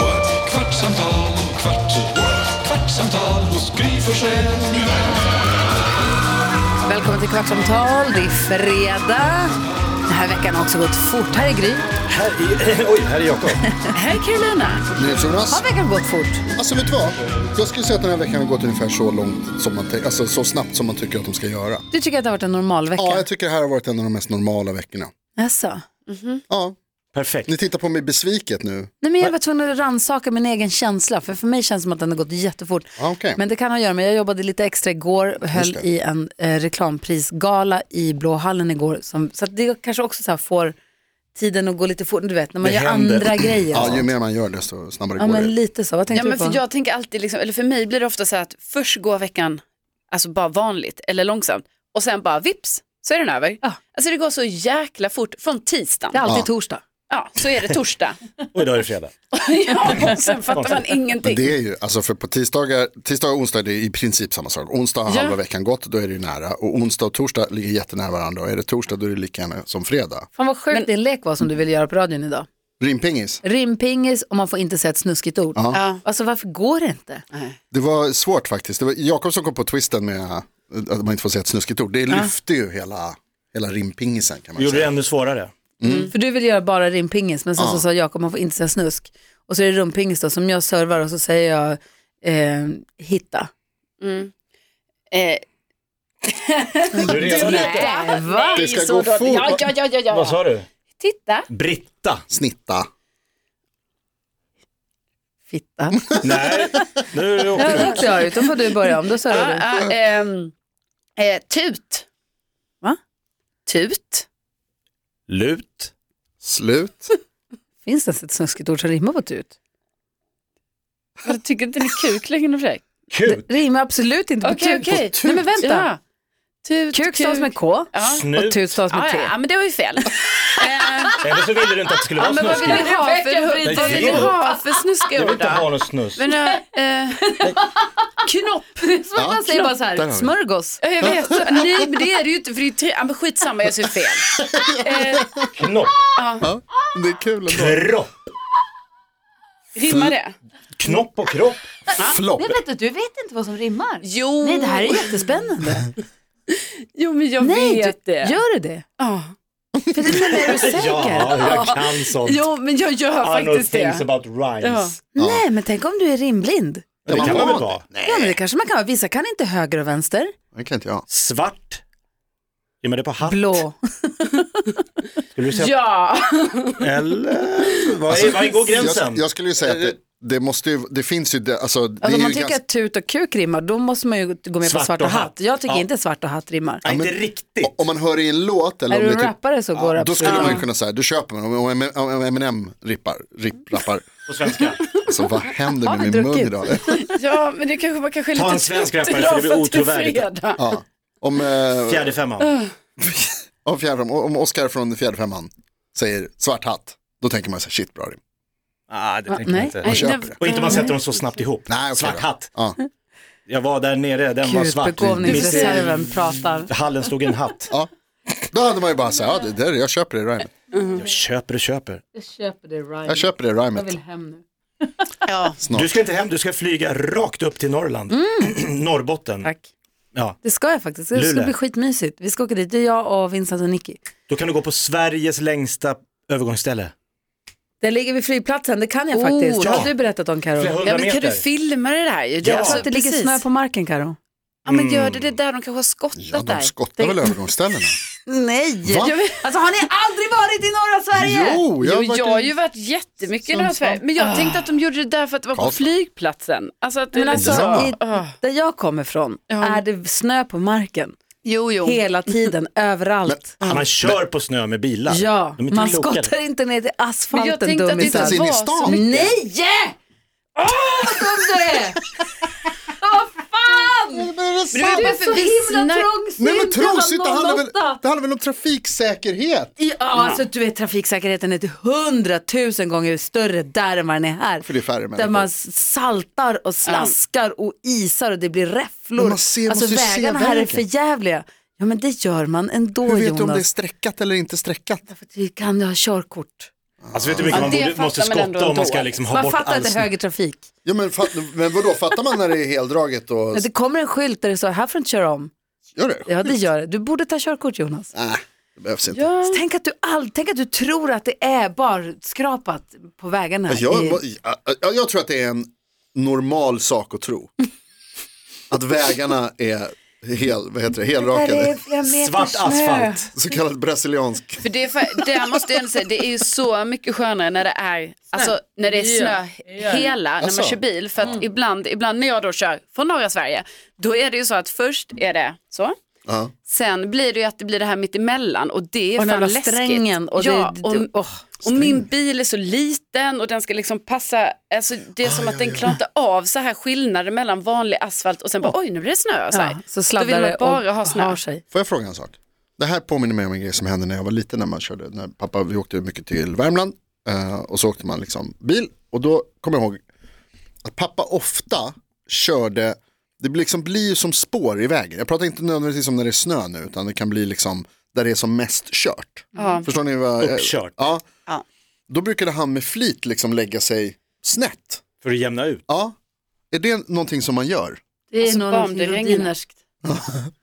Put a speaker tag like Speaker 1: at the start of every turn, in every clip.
Speaker 1: what? kvartsamtal, kvart, what? kvartsamtal hos Gry Forssell med vänner.
Speaker 2: Välkommen till Kvartsamtal. Det är fredag. Den här veckan har också gått fort. Här är Gry.
Speaker 3: Här är, oj, här är Jakob.
Speaker 2: Här är Carolina. Har
Speaker 4: Jonas.
Speaker 2: veckan gått fort?
Speaker 4: Alltså vet du vad? Jag skulle säga att den här veckan har gått ungefär så långt som man tänk- alltså så snabbt som man tycker att de ska göra.
Speaker 2: Du tycker att det har varit en normal vecka?
Speaker 4: Ja, jag tycker det här har varit en av de mest normala veckorna.
Speaker 2: Jaså?
Speaker 4: Ja,
Speaker 3: Perfekt.
Speaker 4: ni tittar på mig besviket nu.
Speaker 2: Nej, men jag var tvungen att rannsaka min egen känsla, för för mig känns det som att den har gått jättefort.
Speaker 4: Ja, okej.
Speaker 2: Men det kan ha att göra med, jag jobbade lite extra igår, höll i en eh, reklamprisgala i Blåhallen igår, som, så att det kanske också så här får tiden att gå lite fort, du vet, när man
Speaker 3: Det
Speaker 2: gör
Speaker 3: händer.
Speaker 2: andra grejer.
Speaker 4: Ja, ju mer man gör desto snabbare
Speaker 2: ja,
Speaker 4: går
Speaker 2: men
Speaker 4: det.
Speaker 2: lite så. Vad
Speaker 5: Ja,
Speaker 2: tänkte
Speaker 5: men
Speaker 2: du
Speaker 5: för
Speaker 2: på?
Speaker 5: jag tänker alltid, liksom, eller för mig blir det ofta så här att först går veckan alltså bara vanligt eller långsamt och sen bara vips så är den över.
Speaker 2: Ja.
Speaker 5: Alltså det går så jäkla fort från
Speaker 2: Det är
Speaker 5: tisdagen.
Speaker 2: alltid
Speaker 4: Ja.
Speaker 2: torsdag.
Speaker 5: Ja, så är det torsdag.
Speaker 3: Och idag är det fredag.
Speaker 5: ja, och sen fattar man
Speaker 4: Men
Speaker 5: ingenting.
Speaker 4: det är ju, alltså för på tisdagar, tisdagar och onsdag det är i princip samma sak. Onsdag har
Speaker 5: Ja.
Speaker 4: halva veckan gått, då är det ju nära. Och onsdag och torsdag ligger jättenära varandra. Och är det torsdag då är det lika gärna som fredag.
Speaker 2: Fan vad sjukt din lek var som du ville göra på radion idag.
Speaker 4: Rimpingis,
Speaker 2: Rimpingis och man får inte säga ett snuskigt ord.
Speaker 5: Ja.
Speaker 2: Alltså varför går det inte?
Speaker 4: det var svårt faktiskt. Det var Jakob som kom på twisten med eh, att man inte får säga ett snuskigt ord. Det lyfte ju hela, hela rimpingisen kan man
Speaker 3: Gjorde det
Speaker 4: säga.
Speaker 3: ännu svårare.
Speaker 2: För du vill göra bara rimpingis men sen så sa Jakob man får inte säga snusk. Och så är det rumpingis då som jag servar och så säger jag eh, hitta.
Speaker 5: Eh,
Speaker 3: Du är redan ute.
Speaker 2: Äh, va?
Speaker 4: Det ska
Speaker 5: så
Speaker 4: gå
Speaker 5: då-
Speaker 4: fort.
Speaker 5: Ja, ja, ja, ja,
Speaker 3: Vad
Speaker 5: ja.
Speaker 3: sa du?
Speaker 5: Titta.
Speaker 3: Britta.
Speaker 4: Snitta.
Speaker 2: Fitta.
Speaker 3: Nej, nu åkte
Speaker 2: Ja,
Speaker 3: du
Speaker 2: då
Speaker 3: ut.
Speaker 2: åkte jag ut, då får du börja om, då
Speaker 5: Ja,
Speaker 2: servar du.
Speaker 5: ja, ehm, eh, tut.
Speaker 2: Va?
Speaker 5: Tut.
Speaker 3: Lut.
Speaker 4: Slut.
Speaker 2: Finns det ens ett snuskigt ord som rimmar på tut?
Speaker 5: Jag tycker inte det är kuk längre för dig.
Speaker 3: Kut.
Speaker 2: Det rimmar absolut inte på
Speaker 5: Okej,
Speaker 2: tut.
Speaker 5: okej.
Speaker 2: Nej men vänta,
Speaker 5: Ja. Tut,
Speaker 2: kuk stavas med K
Speaker 5: Ja.
Speaker 2: och
Speaker 3: Snut.
Speaker 2: tut stavas med
Speaker 5: Ja,
Speaker 2: T.
Speaker 5: ja, ja, men det var ju fel. Eh,
Speaker 3: Eller så ville du inte att det skulle
Speaker 5: Ja,
Speaker 3: vara
Speaker 5: men vad vill
Speaker 3: snuskigt.
Speaker 5: ni ha för, vad vill ni ha för
Speaker 3: Jag
Speaker 5: snuskiga
Speaker 3: vill
Speaker 5: ord
Speaker 3: inte ha
Speaker 5: då?
Speaker 3: någon snusk.
Speaker 5: Men, eh, eh, knopp.
Speaker 2: Men Man säger bara så
Speaker 4: Där har
Speaker 2: här,
Speaker 4: vi.
Speaker 2: smörgås.
Speaker 5: Ja, Jag vet, nej men det är det ju inte för det är ju tre, ja, men skitsamma jag säger fel. Eh,
Speaker 3: Knopp.
Speaker 4: Ja, det är kul ändå.
Speaker 3: Kropp.
Speaker 5: rimmar det?
Speaker 3: Knopp och kropp.
Speaker 4: Flopp.
Speaker 2: Nej, vänta, du vet inte vad som rimmar.
Speaker 5: Jo,
Speaker 2: Nej, det här är jättespännande.
Speaker 5: jo men jag
Speaker 2: Nej,
Speaker 5: vet
Speaker 2: du,
Speaker 5: det.
Speaker 2: gör du det?
Speaker 5: Ja.
Speaker 2: För det menar är du säker?
Speaker 3: Ja, jag kan sånt.
Speaker 5: Jo men jag gör
Speaker 3: Arnold
Speaker 5: faktiskt
Speaker 3: thinks
Speaker 5: det.
Speaker 3: about rhymes.
Speaker 2: Nej, men tänk om du är rimblind.
Speaker 3: Men Det kan man väl vara?
Speaker 2: Ja, men det kanske man kan vara. Vissa kan inte höger och vänster.
Speaker 4: Det kan inte jag.
Speaker 3: Svart. Rimmar det på hatt?
Speaker 2: Blå. Alltså,
Speaker 3: Skulle du säga?
Speaker 5: Ja,
Speaker 3: Eller? Vad är- Var går gränsen? Eh,
Speaker 4: Jag, jag skulle ju säga att det, det måste ju, det finns ju, det, alltså det
Speaker 2: Alltså,
Speaker 4: är
Speaker 2: om man
Speaker 4: ju
Speaker 2: tycker
Speaker 4: ganska,
Speaker 2: att tut och kuk rimmar, då måste man ju gå med
Speaker 3: Svart
Speaker 2: på svart
Speaker 3: och
Speaker 2: och
Speaker 3: hatt.
Speaker 2: hatt. Jag tycker
Speaker 3: Ja.
Speaker 2: inte svart och hatt rimmar.
Speaker 3: Nej, Inte riktigt.
Speaker 4: om man hör i en låt eller
Speaker 2: Är
Speaker 4: om
Speaker 2: du
Speaker 4: det
Speaker 2: en
Speaker 4: är typ,
Speaker 2: rappare så går det
Speaker 4: då skulle
Speaker 2: absolut.
Speaker 4: man ju kunna säga, du köper man, om M- om Eminem rippar, ripp, rappar,
Speaker 3: På svenska.
Speaker 4: alltså vad händer
Speaker 2: Har vi
Speaker 4: med min mun
Speaker 2: druckit?
Speaker 4: idag?
Speaker 5: ja men det kanske var kanske lite
Speaker 3: en svensk rappare,
Speaker 5: idag
Speaker 3: för det blir
Speaker 5: för att är
Speaker 3: otrovärdigt.
Speaker 5: fredag.
Speaker 4: Ja. Om, eh,
Speaker 3: Fjärde femman.
Speaker 4: om, fjärde, om Oscar från fjärde femman säger svart hatt, då tänker man så här, shit bra rim.
Speaker 3: Ah, det tänker man
Speaker 2: nej.
Speaker 3: inte.
Speaker 4: Man
Speaker 5: Nej,
Speaker 4: köper
Speaker 5: det-
Speaker 4: det.
Speaker 3: Och inte man sätter dem så snabbt ihop.
Speaker 4: Nej, okej
Speaker 3: svart
Speaker 4: då.
Speaker 3: hatt.
Speaker 4: Ja.
Speaker 3: Jag var där nere, den var
Speaker 2: Gud,
Speaker 3: svart. Mitt i
Speaker 2: begåvningsreserven pratar.
Speaker 3: hallen stod en hatt.
Speaker 4: Ja. Då hade man ju bara så här, ja, det där, jag köper det rhymet.
Speaker 2: Mm.
Speaker 3: Jag köper och köper.
Speaker 2: Jag köper det, Ryan.
Speaker 4: Jag köper det rhymet.
Speaker 2: hem nu.
Speaker 5: Ja.
Speaker 3: Du ska inte hem, du ska flyga rakt upp till Norrland. Norrbotten.
Speaker 2: Mm. Tack.
Speaker 3: Ja.
Speaker 2: Det ska jag faktiskt. Det ska
Speaker 3: Luleå.
Speaker 2: bli skitmysigt. Vi ska åka dit, det är jag och Vincent och Nicky.
Speaker 3: Då kan du gå på Sveriges längsta övergångsställe.
Speaker 2: Där ligger vid flygplatsen, det kan jag
Speaker 5: Oh,
Speaker 2: faktiskt. Det
Speaker 3: ja.
Speaker 2: har du berättat om Karo.
Speaker 3: Flera
Speaker 5: ja
Speaker 3: hundra
Speaker 5: men kan
Speaker 3: meter.
Speaker 5: du filma det där ju?
Speaker 3: Ja.
Speaker 2: Så att det ligger
Speaker 5: precis.
Speaker 2: snö på marken Karo.
Speaker 5: Ja men
Speaker 2: Mm.
Speaker 5: gör det, det där, de kanske har skottat
Speaker 4: Ja, de
Speaker 5: där.
Speaker 4: skottar väl övergångsställena.
Speaker 2: Nej!
Speaker 4: Va?
Speaker 2: Alltså har ni aldrig varit i norra Sverige?
Speaker 4: Jo, jag
Speaker 5: Jo,
Speaker 4: har
Speaker 5: jag,
Speaker 4: varit
Speaker 5: har
Speaker 4: i-
Speaker 5: ju varit jättemycket i norra Sverige. Men jag tänkte att de gjorde det där för att det var på
Speaker 4: Karlstad.
Speaker 5: flygplatsen. Alltså att det
Speaker 2: Ah. Men
Speaker 5: är
Speaker 2: alltså,
Speaker 5: så.
Speaker 2: i,
Speaker 5: Ah.
Speaker 2: där jag kommer ifrån
Speaker 5: Ja.
Speaker 2: är det snö på marken.
Speaker 5: Jo, jo.
Speaker 2: Hela tiden, överallt.
Speaker 3: Man kör på snö med bilar.
Speaker 2: ja,
Speaker 3: De är inte
Speaker 2: man
Speaker 3: klokare.
Speaker 2: skottar inte ner till
Speaker 5: Men jag
Speaker 2: asfalten
Speaker 5: tänkte att det
Speaker 4: ens
Speaker 2: dummisar.
Speaker 5: inte
Speaker 4: inne i
Speaker 5: var
Speaker 4: stan.
Speaker 5: så mycket.
Speaker 2: Nej!
Speaker 5: Men du vet
Speaker 2: fan,
Speaker 5: varför
Speaker 2: så
Speaker 5: vi
Speaker 2: himla
Speaker 5: snack-
Speaker 2: trångsint
Speaker 4: Nej men trångsint, det
Speaker 2: mellan
Speaker 4: handlar, väl,
Speaker 2: 08.
Speaker 4: det handlar väl om trafiksäkerhet?
Speaker 2: Ja, alltså du vet trafiksäkerheten är till hundratusen gånger större där än vad den är här.
Speaker 4: För det är färre
Speaker 2: Där
Speaker 4: människor.
Speaker 2: man saltar och slaskar och isar och det blir räfflor.
Speaker 4: Men man ser-
Speaker 2: alltså
Speaker 4: måste ju se
Speaker 2: vägarna här är
Speaker 4: vägen.
Speaker 2: för jävliga. Ja men det gör man ändå
Speaker 4: Hur vet
Speaker 2: Jonas.
Speaker 4: du om det är sträckat eller inte sträckat?
Speaker 2: Du kan ju ha körkort.
Speaker 3: Alltså vet du hur mycket
Speaker 5: Ja,
Speaker 3: man
Speaker 5: det
Speaker 3: borde,
Speaker 5: fattar
Speaker 3: måste
Speaker 5: man ändå
Speaker 3: skotta om man ska
Speaker 5: ändå.
Speaker 3: liksom ha
Speaker 2: Man
Speaker 3: bort
Speaker 2: fattar
Speaker 3: all
Speaker 2: inte
Speaker 3: snö?
Speaker 2: högertrafik.
Speaker 4: Ja, men, fatt, men vadå, fattar man när det är heldraget och
Speaker 2: Men det kommer en skylt där det står här får du inte köra om.
Speaker 4: gör det?
Speaker 2: Ja det gör det. Du borde ta körkort Jonas.
Speaker 4: Nej, det behövs inte.
Speaker 2: Så tänk, att du all, tänk att du tror att det är bara skrapat på vägarna.
Speaker 4: Alltså, Jag,
Speaker 2: i-
Speaker 4: jag, jag, jag tror att det är en normal sak att tro. Att vägarna är hel, vad heter det,
Speaker 2: Där är
Speaker 4: helrakade.
Speaker 2: flera meter
Speaker 3: Svart
Speaker 2: snö.
Speaker 3: asfalt.
Speaker 4: Så kallad brasiliansk.
Speaker 5: För det, är för, det här måste jag ändå säga, det är ju så mycket skönare när det är, alltså, när det är snö hela när
Speaker 4: Alltså.
Speaker 5: man kör bil. För att ibland, ibland när jag då kör från norra Sverige, då är det ju så att först är det så.
Speaker 4: Ja.
Speaker 5: Sen blir det ju att det blir det här mittemellan och det är
Speaker 2: Och den
Speaker 5: fan
Speaker 2: jävla
Speaker 5: läskigt.
Speaker 2: strängen och det-
Speaker 5: ja,
Speaker 2: det-
Speaker 5: och,
Speaker 2: åh,
Speaker 5: och min bil är så liten och den ska liksom passa, alltså, det är som att den klarar inte av så här skillnader mellan vanlig asfalt och sen bara oj nu blir det snö. Så, här.
Speaker 2: Ja, så
Speaker 5: då vill
Speaker 2: sladdar
Speaker 5: man
Speaker 2: det
Speaker 5: bara
Speaker 2: och
Speaker 5: ha snö.
Speaker 2: har sig.
Speaker 4: Får jag fråga en sak? Det här påminner mig om en grej som hände när jag var liten när man körde, när pappa, vi åkte mycket till Värmland eh, och så åkte man liksom bil och då kommer jag ihåg att pappa ofta körde, det blir liksom blir ju som spår i vägen. Jag pratar inte nödvändigtvis om när det är snö nu utan det kan bli liksom där det är som mest kört. Förstår ni vad? eh,
Speaker 3: Uppkört.
Speaker 4: Ja.
Speaker 5: Ja.
Speaker 4: Då brukade han med flit liksom lägga sig snett.
Speaker 3: För att jämna ut.
Speaker 4: Ja. Är det någonting som man gör?
Speaker 2: Det är
Speaker 5: Alltså,
Speaker 2: nog
Speaker 5: bara om
Speaker 2: någonting
Speaker 5: det regnar.
Speaker 2: rodinerskt.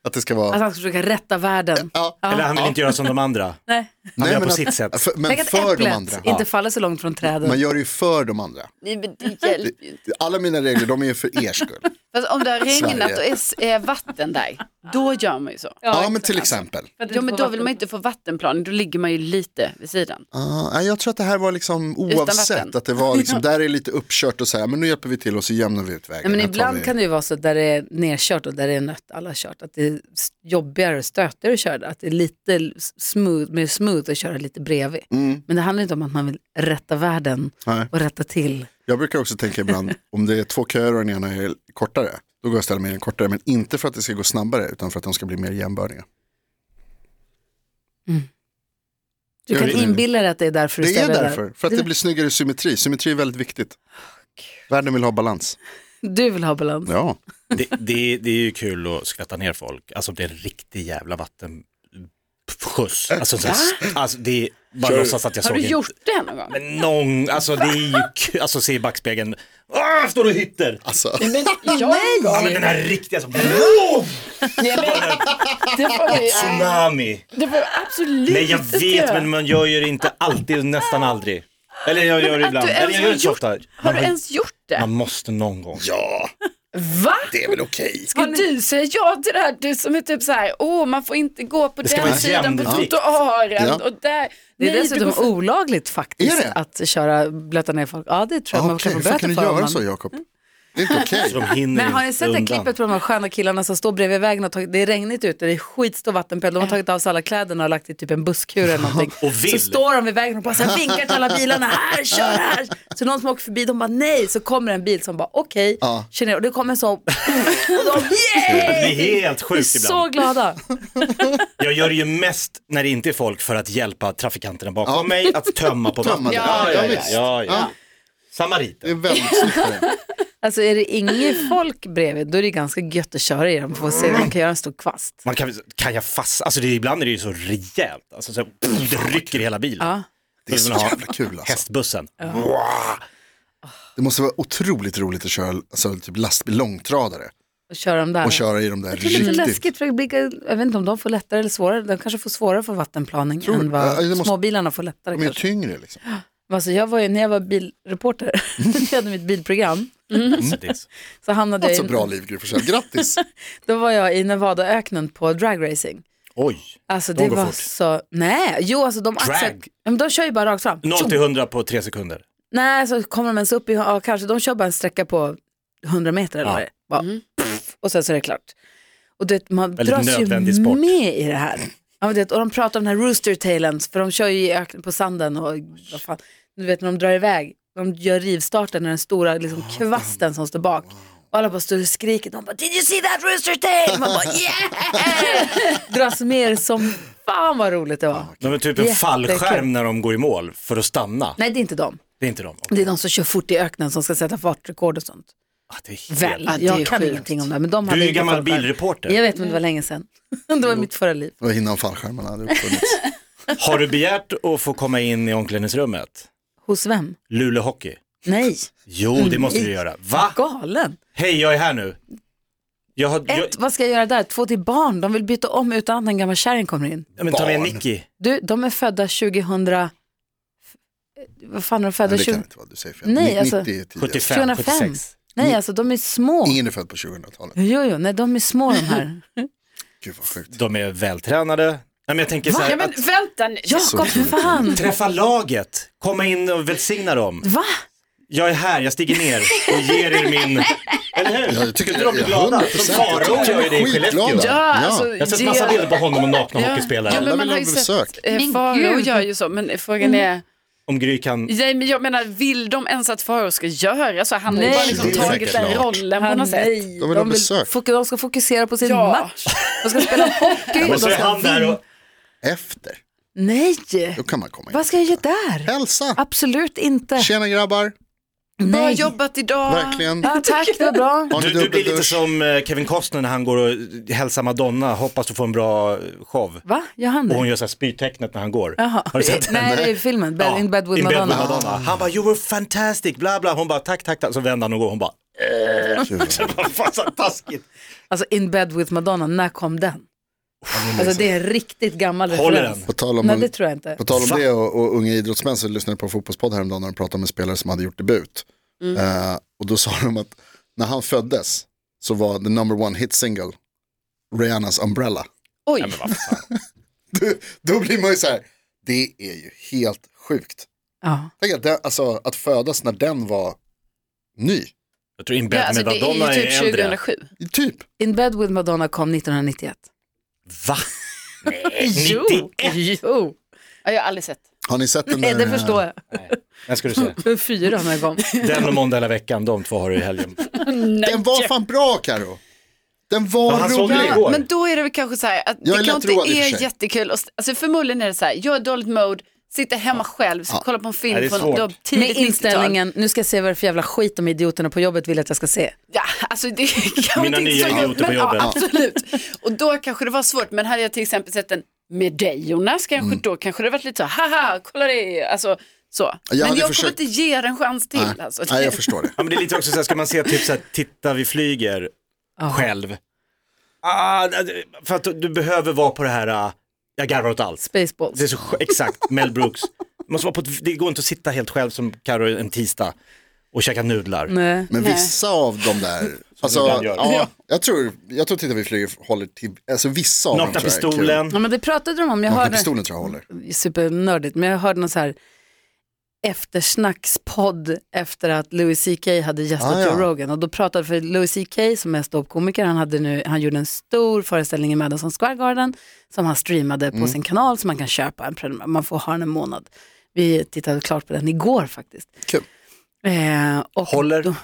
Speaker 4: Att det ska vara...
Speaker 2: Att han ska försöka rätta världen.
Speaker 4: ja.
Speaker 3: Eller han vill inte göra som de andra. Han
Speaker 2: Nej.
Speaker 3: gör på
Speaker 4: att- alltså,
Speaker 3: sitt sätt.
Speaker 4: För, men
Speaker 2: Tänk att
Speaker 4: för
Speaker 2: äpplet
Speaker 4: de andra.
Speaker 2: inte faller så långt från träden.
Speaker 4: Man gör det ju för de andra.
Speaker 5: Nej, men det hjälper ju inte.
Speaker 4: Alla mina regler, de är ju för er skull.
Speaker 5: Fast om det har regnat
Speaker 4: Sverige.
Speaker 5: och är, s- är vatten där, då gör man ju så.
Speaker 4: Ja, men till exempel.
Speaker 5: Ja, men då vill man inte få vattenplaning, då ligger man ju lite vid sidan.
Speaker 4: Ah, nej, jag tror att det här var liksom
Speaker 5: vatten.
Speaker 4: oavsett, att det var liksom, där är lite uppkört och så här, men nu hjälper vi till och så jämnar vi ut
Speaker 2: Nej,
Speaker 4: vägen.
Speaker 2: men
Speaker 4: Här tar
Speaker 2: ibland
Speaker 4: vi-
Speaker 2: kan det ju vara så att där det är nerkört och där det är nött, alla har kört, att det är s- jobbigare och stötigare att köra, att det är lite s- smooth, mer smooth att köra lite bredvid.
Speaker 6: Mm.
Speaker 2: Men det handlar inte om att man vill rätta världen
Speaker 4: Nej.
Speaker 2: och rätta till.
Speaker 4: Jag brukar också tänka ibland, om det är två köer och den ena är kortare, då går jag och ställer mig i den kortare, men inte för att det ska gå snabbare, utan för att de ska bli mer jämbördiga.
Speaker 2: Mm. Du
Speaker 4: Gör
Speaker 2: kan
Speaker 4: det nu.
Speaker 2: inbilla dig att det är därför du
Speaker 4: Det är
Speaker 2: ställer dig där.
Speaker 4: därför, för att det blir snyggare symmetri. Symmetri är väldigt viktigt. Världen vill ha balans.
Speaker 2: Du vill ha balans.
Speaker 4: Ja,
Speaker 6: Det, det, det är ju kul att skvätta ner folk, alltså om det är en riktig jävla vattenskjuts. Alltså, så, alltså det är bara låtsas att jag
Speaker 5: Har
Speaker 6: såg
Speaker 5: du
Speaker 6: en-
Speaker 5: gjort det någon gång?
Speaker 6: Men någon, alltså det är ju kul, alltså se i backspegeln, Åh, står du och hytter?
Speaker 4: alltså.
Speaker 6: Ja men den här riktiga, alltså, wow,
Speaker 5: Det får man ju-
Speaker 6: tsunami.
Speaker 5: det får man absolut
Speaker 6: Nej jag
Speaker 5: inte
Speaker 6: vet
Speaker 5: göra.
Speaker 6: men man gör ju det inte alltid, nästan aldrig. Eller jag gör det
Speaker 5: att
Speaker 6: ibland,
Speaker 5: du
Speaker 6: eller
Speaker 5: ens
Speaker 6: jag gör
Speaker 5: har
Speaker 6: det så ofta.
Speaker 5: Har du ens gjort det?
Speaker 6: Man måste någon gång.
Speaker 4: Ja,
Speaker 5: Va?
Speaker 4: det är väl okej.
Speaker 5: Ska du säga ja till det här? Du som är typ så här, åh man får inte gå på
Speaker 6: ska
Speaker 5: den
Speaker 6: vara
Speaker 5: sidan på
Speaker 6: jämlikt.
Speaker 5: trottoaren
Speaker 4: Ja.
Speaker 5: och där.
Speaker 2: Det är
Speaker 5: Nej,
Speaker 2: dessutom
Speaker 5: du går för-
Speaker 2: olagligt faktiskt
Speaker 4: Är det?
Speaker 2: att köra blöta ner folk. Ja, det tror jag
Speaker 4: Ja,
Speaker 2: man
Speaker 4: Okej,
Speaker 2: kan
Speaker 4: hur
Speaker 2: få
Speaker 4: fan
Speaker 2: böter
Speaker 4: kan du
Speaker 2: för. om
Speaker 4: göra
Speaker 2: man-
Speaker 4: så Jakob? Det är inte okej.
Speaker 6: Så de hinner
Speaker 2: Men har ni sett det
Speaker 6: undan.
Speaker 2: klippet på de här sköna killarna som står bredvid vägen och tagit, det är regnigt ute, det är skitstor vattenpöl, de har tagit av sig alla kläderna och lagt i typ en busskur eller någonting.
Speaker 6: Och vill.
Speaker 2: Så står de vid vägen och bara så här vinkar till alla bilarna, här, kör här. Så någon som åker förbi, de bara nej, så kommer en bil som bara okej,
Speaker 4: Ja.
Speaker 2: kör ner och det kommer en sån, och de yay!
Speaker 6: Det är helt
Speaker 2: Vi är
Speaker 6: sjukt ibland.
Speaker 2: så glada.
Speaker 6: Jag gör det ju mest när det inte är folk för att hjälpa trafikanterna bakom
Speaker 4: Ja.
Speaker 6: mig att tömma på
Speaker 4: Tömma
Speaker 6: vatten.
Speaker 4: det.
Speaker 6: Ja,
Speaker 4: Ja,
Speaker 6: ja, ja,
Speaker 4: visst.
Speaker 6: ja,
Speaker 4: Ja.
Speaker 6: ja.
Speaker 4: Det är
Speaker 6: Samariter.
Speaker 4: väldigt snyggt. det.
Speaker 2: Alltså är det inget folk bredvid, då är det ganska gött att köra i dem för att se om man kan göra en stor kvast.
Speaker 6: Man kan, kan jag fast, alltså det, är- ibland är det ju så rejält, alltså så, pff, det rycker i hela bilen.
Speaker 2: Ja.
Speaker 4: Det är så jävla kul alltså.
Speaker 6: Hästbussen.
Speaker 4: Det måste vara otroligt roligt att köra alltså, typ lastbil, långtradare
Speaker 2: Och köra dem där.
Speaker 4: och köra i de där
Speaker 2: Det är lite
Speaker 4: riktigt.
Speaker 2: läskigt, för ögonblick. jag vet inte om de får lättare eller svårare. De kanske får svårare för vattenplaning
Speaker 4: Tror du?
Speaker 2: än vad
Speaker 4: Ja, det måste-
Speaker 2: småbilarna får lättare.
Speaker 4: De är ju
Speaker 2: kanske.
Speaker 4: tyngre liksom.
Speaker 2: Alltså jag var ju, när jag var bilreporter, jag hade mitt bilprogram,
Speaker 6: Mm. Så det är så-
Speaker 2: så hamnade
Speaker 4: Alltså
Speaker 2: jag i,
Speaker 4: bra liv Gry Forssell. grattis.
Speaker 2: då var jag i Nevadaöknen på dragracing.
Speaker 6: Oj,
Speaker 2: Alltså
Speaker 6: De
Speaker 2: det
Speaker 6: går
Speaker 2: var
Speaker 6: fort.
Speaker 2: så, nej, jo alltså de axlar,
Speaker 6: Drag.
Speaker 2: men de kör ju bara rakt fram.
Speaker 6: 0
Speaker 2: Tjong!
Speaker 6: till 100 på tre sekunder.
Speaker 2: Nej, så kommer de ens upp i, ja, kanske, de kör bara en sträcka på 100 meter eller vad det är. Bara, pff, Och sen så är det klart. Och du vet, man
Speaker 6: Väldigt
Speaker 2: dras ju
Speaker 6: nödvändig sport.
Speaker 2: med i det här. Ja, men du vet, och de pratar om den här rooster tailen, för de kör ju i öknen på sanden och vad
Speaker 6: Ah,
Speaker 2: fan, du vet när de drar iväg, de gör rivstarten när den stora liksom, kvasten som står bak. Och alla bara står och skriker. De bara, did you see that rooster tail? Man bara, yeah! Dras med som fan vad roligt det var.
Speaker 6: De är typ en
Speaker 2: Jättekul.
Speaker 6: fallskärm när de går i mål för att stanna.
Speaker 2: Nej, det är inte dem.
Speaker 6: Det är inte de.
Speaker 2: Det är de som kör fort i öknen som ska sätta fartrekord och sånt.
Speaker 6: Ah, det är helt...
Speaker 2: Väl,
Speaker 5: Ja, det är
Speaker 2: jag kan
Speaker 5: sjukt.
Speaker 2: ingenting om det. Men de
Speaker 6: Du
Speaker 2: hade
Speaker 6: är ju
Speaker 2: inte
Speaker 6: gammal
Speaker 2: fallskärm.
Speaker 6: bilreporter.
Speaker 2: Jag vet, men det var länge sedan. Det var mitt förra liv.
Speaker 4: Det var innan fallskärmarna hade uppfunnits.
Speaker 6: Har du begärt att få komma in i omklädningsrummet?
Speaker 2: Hos vem?
Speaker 6: Luleå Hockey?
Speaker 2: Nej,
Speaker 6: Jo, det måste du göra. Va?
Speaker 2: galen.
Speaker 6: Hej, jag är här nu. Jag har... Jag...
Speaker 2: Ett, vad ska jag göra där? Två till barn. De vill byta om utan att en gammal kärring kommer in.
Speaker 6: Ja, men ta med
Speaker 4: barn.
Speaker 6: Nicky.
Speaker 2: Du, de är födda 2000... Vad fan är de födda?
Speaker 4: Nej, det kan
Speaker 2: 20...
Speaker 4: inte vara, du säger fel.
Speaker 2: Nej,
Speaker 4: Ni-
Speaker 2: alltså-
Speaker 4: 90 är tidigast.
Speaker 6: 75,
Speaker 2: 2005.
Speaker 6: 76.
Speaker 2: Nej, alltså de är små.
Speaker 4: Ingen är född på 2000-talet.
Speaker 2: Jo, jo, nej, de är små de här.
Speaker 4: Gud vad sjukt.
Speaker 6: De är vältränade. Nej, men jag tänker så
Speaker 5: Ja,
Speaker 6: här,
Speaker 5: men
Speaker 6: att
Speaker 5: vänta nu.
Speaker 2: Jakob, för fan.
Speaker 6: träffa laget, komma in och välsigna dem.
Speaker 2: Va?
Speaker 6: Jag är här, jag stiger ner och ger er min... Eller hur?
Speaker 4: Ja, jag tycker
Speaker 6: Skulle de blir
Speaker 4: ja,
Speaker 6: glada?
Speaker 4: 100%.
Speaker 6: Som Farao gör ju det i Skellefteå.
Speaker 4: Skitglada.
Speaker 6: Jag
Speaker 5: Ja,
Speaker 4: Ja.
Speaker 5: alltså,
Speaker 6: har sett massa
Speaker 5: det-
Speaker 6: bilder på honom och nakna
Speaker 5: Ja.
Speaker 6: hockeyspelare.
Speaker 5: Ja, men
Speaker 4: vill
Speaker 5: man har
Speaker 4: ha
Speaker 5: ju
Speaker 4: besök.
Speaker 5: sett eh,
Speaker 2: Men
Speaker 5: Farao
Speaker 2: gud. Mm.
Speaker 5: gör ju så, men frågan är,
Speaker 6: Om Gry kan...
Speaker 5: nej, men jag menar vill de ens att Farao ska göra så? Han har ju
Speaker 2: Nej.
Speaker 5: bara liksom
Speaker 4: Det är
Speaker 5: tagit
Speaker 4: säkert
Speaker 5: den
Speaker 4: klart.
Speaker 5: rollen på något sätt.
Speaker 2: nej,
Speaker 4: De vill ha besök.
Speaker 2: fok- de ska fokusera på sin
Speaker 5: Ja.
Speaker 2: match. De ska spela hockey.
Speaker 6: Och så
Speaker 2: de
Speaker 6: är
Speaker 2: ska
Speaker 6: han där
Speaker 2: vinna.
Speaker 6: och...
Speaker 4: Efter,
Speaker 2: Nej,
Speaker 4: då kan man komma in.
Speaker 2: vad ska jag göra där?
Speaker 4: Hälsa.
Speaker 2: Absolut inte.
Speaker 4: Tjena grabbar,
Speaker 5: Bra
Speaker 2: Nej.
Speaker 5: jobbat idag.
Speaker 4: verkligen.
Speaker 2: Ja, tack, det var bra.
Speaker 4: Har ni
Speaker 6: Du, du blir lite
Speaker 4: dubbeldusch?
Speaker 6: som eh, Kevin Costner när han går och hälsar Madonna, hoppas du får en bra eh, show.
Speaker 2: Va, gör han
Speaker 6: Och hon
Speaker 2: det?
Speaker 6: gör så här spytecknet när han går.
Speaker 2: Jaha.
Speaker 6: Har du sett den?
Speaker 2: Nej, det är filmen, Bed, In Bed With
Speaker 6: In
Speaker 2: Madonna.
Speaker 6: Bed with Madonna. Han bara, you were fantastic, bla bla. Hon bara, tack, tack, tack. Så vänder han och går. Hon bara, vad fan så taskigt.
Speaker 2: Alltså In Bed With Madonna, när kom den? Alltså det är en riktigt gammal
Speaker 6: Håller
Speaker 2: referens.
Speaker 4: På tal om,
Speaker 2: Nej, det tror jag inte.
Speaker 4: på tal om
Speaker 6: Va?
Speaker 4: det och, och unga idrottsmän så lyssnade jag på en fotbollspodd häromdagen när de pratade om en spelare som hade gjort debut.
Speaker 2: Mm.
Speaker 4: Eh, och då sa de att när han föddes så var the number one hit single Rihannas Umbrella.
Speaker 5: Oj,
Speaker 4: Du, då blir man ju så här, det är ju helt sjukt.
Speaker 2: Ja.
Speaker 4: Tänk att, det, alltså, att födas när den var ny,
Speaker 6: Jag tror In
Speaker 5: ja,
Speaker 6: Bed
Speaker 5: alltså,
Speaker 6: med
Speaker 5: det
Speaker 6: Madonna
Speaker 5: är ju typ
Speaker 6: är äldre.
Speaker 5: 2007.
Speaker 4: typ.
Speaker 2: In Bed With Madonna kom 1991.
Speaker 6: Va? 91?
Speaker 2: Jo,
Speaker 5: Ja, jag har aldrig sett.
Speaker 4: Har ni sett den
Speaker 2: Nej,
Speaker 4: där?
Speaker 2: det förstår jag.
Speaker 6: Den ska du se.
Speaker 2: Men Fyra när jag kom.
Speaker 6: Den och måndag hela veckan, de två har du i helgen.
Speaker 4: Den var fan bra Karo. Den var
Speaker 6: Ja, han såg den
Speaker 4: rolig.
Speaker 6: igår.
Speaker 5: Men då är det väl kanske så här att
Speaker 4: Jag är
Speaker 5: det kanske
Speaker 4: lättroad i och
Speaker 5: inte
Speaker 4: för
Speaker 5: är
Speaker 4: sig.
Speaker 5: jättekul. Och, alltså förmodligen är det så här, jag är i dåligt mode, sitter hemma själv, kollar på en
Speaker 6: Nej, det
Speaker 5: film
Speaker 6: är
Speaker 5: från
Speaker 6: svårt.
Speaker 5: då,
Speaker 2: Med
Speaker 5: tidigt 90-tal.
Speaker 2: inställningen, nu ska jag se vad det är för jävla skit de idioterna på jobbet vill att jag ska se.
Speaker 5: Ja, alltså det kan
Speaker 6: Mina
Speaker 5: inte
Speaker 6: nya
Speaker 5: så-
Speaker 6: idioter på
Speaker 5: men,
Speaker 6: jobbet.
Speaker 5: Ja, absolut. Och då kanske det var svårt, men hade jag till exempel sett en med dig Jonas, kanske
Speaker 4: Mm.
Speaker 5: då kanske det varit lite så här, haha, kolla det, alltså så. men jag
Speaker 4: hade
Speaker 5: kommer
Speaker 4: försökt-
Speaker 5: inte ge den en chans till.
Speaker 4: Nej.
Speaker 5: Alltså.
Speaker 4: Nej, jag förstår det.
Speaker 6: Ja, men det är lite också så här, ska man se typ så här, titta vi flyger själv. Ah, det- för att du behöver vara på det här, ah, jag garvar åt allt.
Speaker 2: Spaceballs.
Speaker 6: Det är så, sj- exakt, Mel Brooks. Du Måste vara på ett, det går inte att sitta helt själv som Karo en tisdag och käka nudlar.
Speaker 2: Nej.
Speaker 4: Men vissa av de där, alltså,
Speaker 6: ibland gör.
Speaker 4: ja, jag tror, jag tror tittar vi flyger håller till, alltså vissa av dem
Speaker 6: Nakna
Speaker 4: tror jag är kul.
Speaker 6: pistolen.
Speaker 2: Ja, men det pratade de om, jag
Speaker 4: Nakna
Speaker 2: hörde,
Speaker 4: pistolen tror jag håller.
Speaker 2: supernördigt, men jag hörde någon så här eftersnackspodd efter att Louis CK hade gästat
Speaker 4: Ah, ja.
Speaker 2: Joe Rogan och då pratade för Louis CK som är ståuppkomiker, han, hade nu, han gjorde en stor föreställning i Madison Square Garden som han streamade på
Speaker 6: Mm.
Speaker 2: sin kanal som man kan köpa, en prenumer- man får ha den en månad. Vi tittade klart på den igår faktiskt.
Speaker 4: Kul.
Speaker 2: Eh, och
Speaker 6: Håller.
Speaker 2: Då,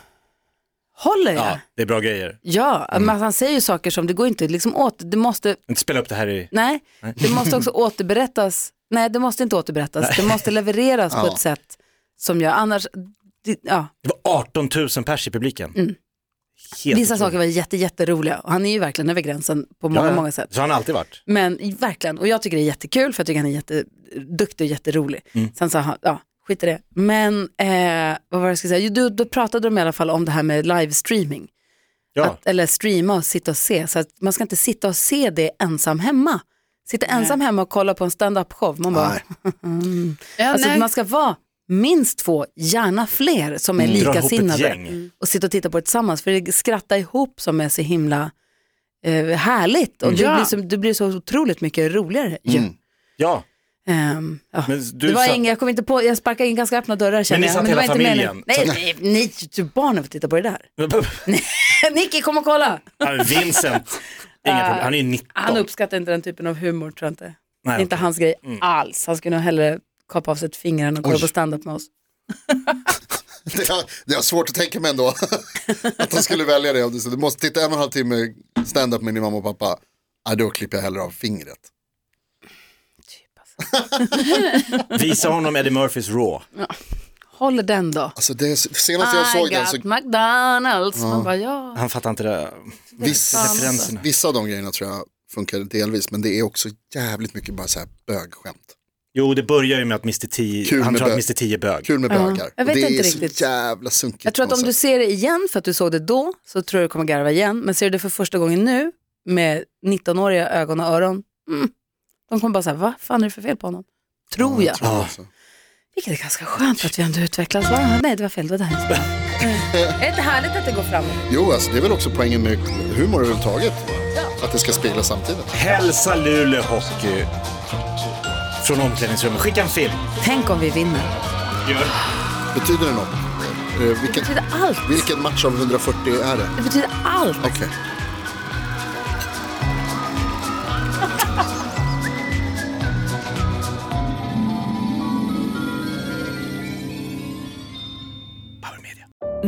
Speaker 2: håller jag?
Speaker 6: Ja,
Speaker 2: Ja,
Speaker 6: det är bra grejer. Mm.
Speaker 2: men han säger ju saker som det går inte liksom åt, du måste
Speaker 6: Inte spela upp det här i...
Speaker 2: Nej, det måste
Speaker 6: Mm.
Speaker 2: också återberättas. Nej, det måste inte återberättas. Det måste levereras på
Speaker 4: Ja.
Speaker 2: ett sätt som gör annars... det- Ja,
Speaker 6: Det var 18 000 pers i publiken. Helt
Speaker 2: Mm. vissa
Speaker 6: otroligt.
Speaker 2: saker var jätte, jätteroliga och han är ju verkligen över gränsen på många,
Speaker 6: Ja, ja.
Speaker 2: många sätt.
Speaker 6: Så har han alltid varit.
Speaker 2: Men i- verkligen, och jag tycker det är jättekul för jag tycker han är jätteduktig och jätterolig.
Speaker 6: Mm.
Speaker 2: Sen sa han, ja, skit i det. Men eh, vad var det jag skulle säga? Jo, du, då pratade de i alla fall om det här med livestreaming.
Speaker 6: Ja.
Speaker 2: Att, eh, eller streama och sitta och se. Så att man ska inte sitta och se det ensam hemma. Sitta ensam hemma och kolla på en stand-up show. Man bara,
Speaker 4: Nej.
Speaker 5: Ja,
Speaker 2: Alltså
Speaker 5: nej.
Speaker 2: man ska vara minst två, gärna fler som är
Speaker 6: Dra ihop ett
Speaker 2: likasinnade.
Speaker 6: gäng. Mm.
Speaker 2: Och sitta och titta på det tillsammans. För det är skratta ihop som är så himla eh, härligt.
Speaker 6: Mm.
Speaker 2: Och det,
Speaker 5: Ja.
Speaker 2: blir så, det blir så otroligt mycket roligare. ju.
Speaker 6: Ja,
Speaker 2: Ehm, ja.
Speaker 6: Men du
Speaker 2: det var
Speaker 6: sa-
Speaker 2: inget, jag kom inte på, jag sparkade in ganska öppna dörrar känner
Speaker 6: ni
Speaker 2: jag.
Speaker 6: satt
Speaker 2: det
Speaker 6: hela
Speaker 2: var inte
Speaker 6: familjen?
Speaker 2: meningen. Nej, nej, nej, du barnen får titta på det där. Nicky, kom och kolla.
Speaker 6: Ja, Vincent, inga problem. Han är ju 19.
Speaker 2: Han uppskattar inte den typen av humor tror jag inte.
Speaker 6: Nej,
Speaker 2: det är inte
Speaker 6: okej.
Speaker 2: hans grej alls. Han skulle nog hellre kapa av sig ett finger än att kolla på stand-up med oss.
Speaker 4: Det har, det har svårt att tänka mig ändå att de skulle välja det. Om du- så Du måste titta en och en halv timme stand-up med din mamma och pappa. Ja, då klipper jag hellre av fingret.
Speaker 6: Visa honom Eddie Murphys Raw.
Speaker 2: Håller den då.
Speaker 4: Alltså det senast
Speaker 2: Ah,
Speaker 4: jag såg den så
Speaker 2: McDonalds. Man bara, ja.
Speaker 6: Han fattar inte det.
Speaker 4: vissa,
Speaker 6: Referenserna.
Speaker 4: vissa av de grejerna tror jag funkar delvis. Men det är också jävligt mycket bara så här bögskämt.
Speaker 6: Jo, det börjar ju med att Mr. T,
Speaker 4: Kul
Speaker 6: han
Speaker 4: med
Speaker 6: tror
Speaker 4: bö-
Speaker 6: att Mr. T är bög.
Speaker 4: Kul med bögar.
Speaker 2: jag vet
Speaker 4: Och det
Speaker 2: inte
Speaker 4: är
Speaker 2: riktigt.
Speaker 4: så jävla sunkigt.
Speaker 2: Jag tror att
Speaker 4: på
Speaker 2: om
Speaker 4: något
Speaker 2: du
Speaker 4: sätt.
Speaker 2: ser det igen för att du såg det då så tror jag du kommer garva igen. Men ser du det för första gången nu med 19-åriga ögon och öron. Mm. De kommer bara säga, vad fan är det för fel på honom? Tror
Speaker 4: Ja,
Speaker 2: jag.
Speaker 4: jag tror
Speaker 6: Ah.
Speaker 4: det också.
Speaker 2: Vilket är ganska skönt att vi ändå utvecklas. Va? Nej, det var fel. Det var där. Eh, Är det inte härligt att det går framåt?
Speaker 4: Jo, alltså det är väl också poängen med humor överhuvudtaget. Att det ska spegla samtiden.
Speaker 6: Hälsa Luleå Hockey från omklädningsrummet. Skicka en film.
Speaker 2: Tänk om vi vinner.
Speaker 4: Betyder det något? Eh, Vilken,
Speaker 2: Det betyder allt.
Speaker 4: vilken match av 140 är det?
Speaker 2: Det betyder allt.
Speaker 4: Okej.
Speaker 6: Power Media.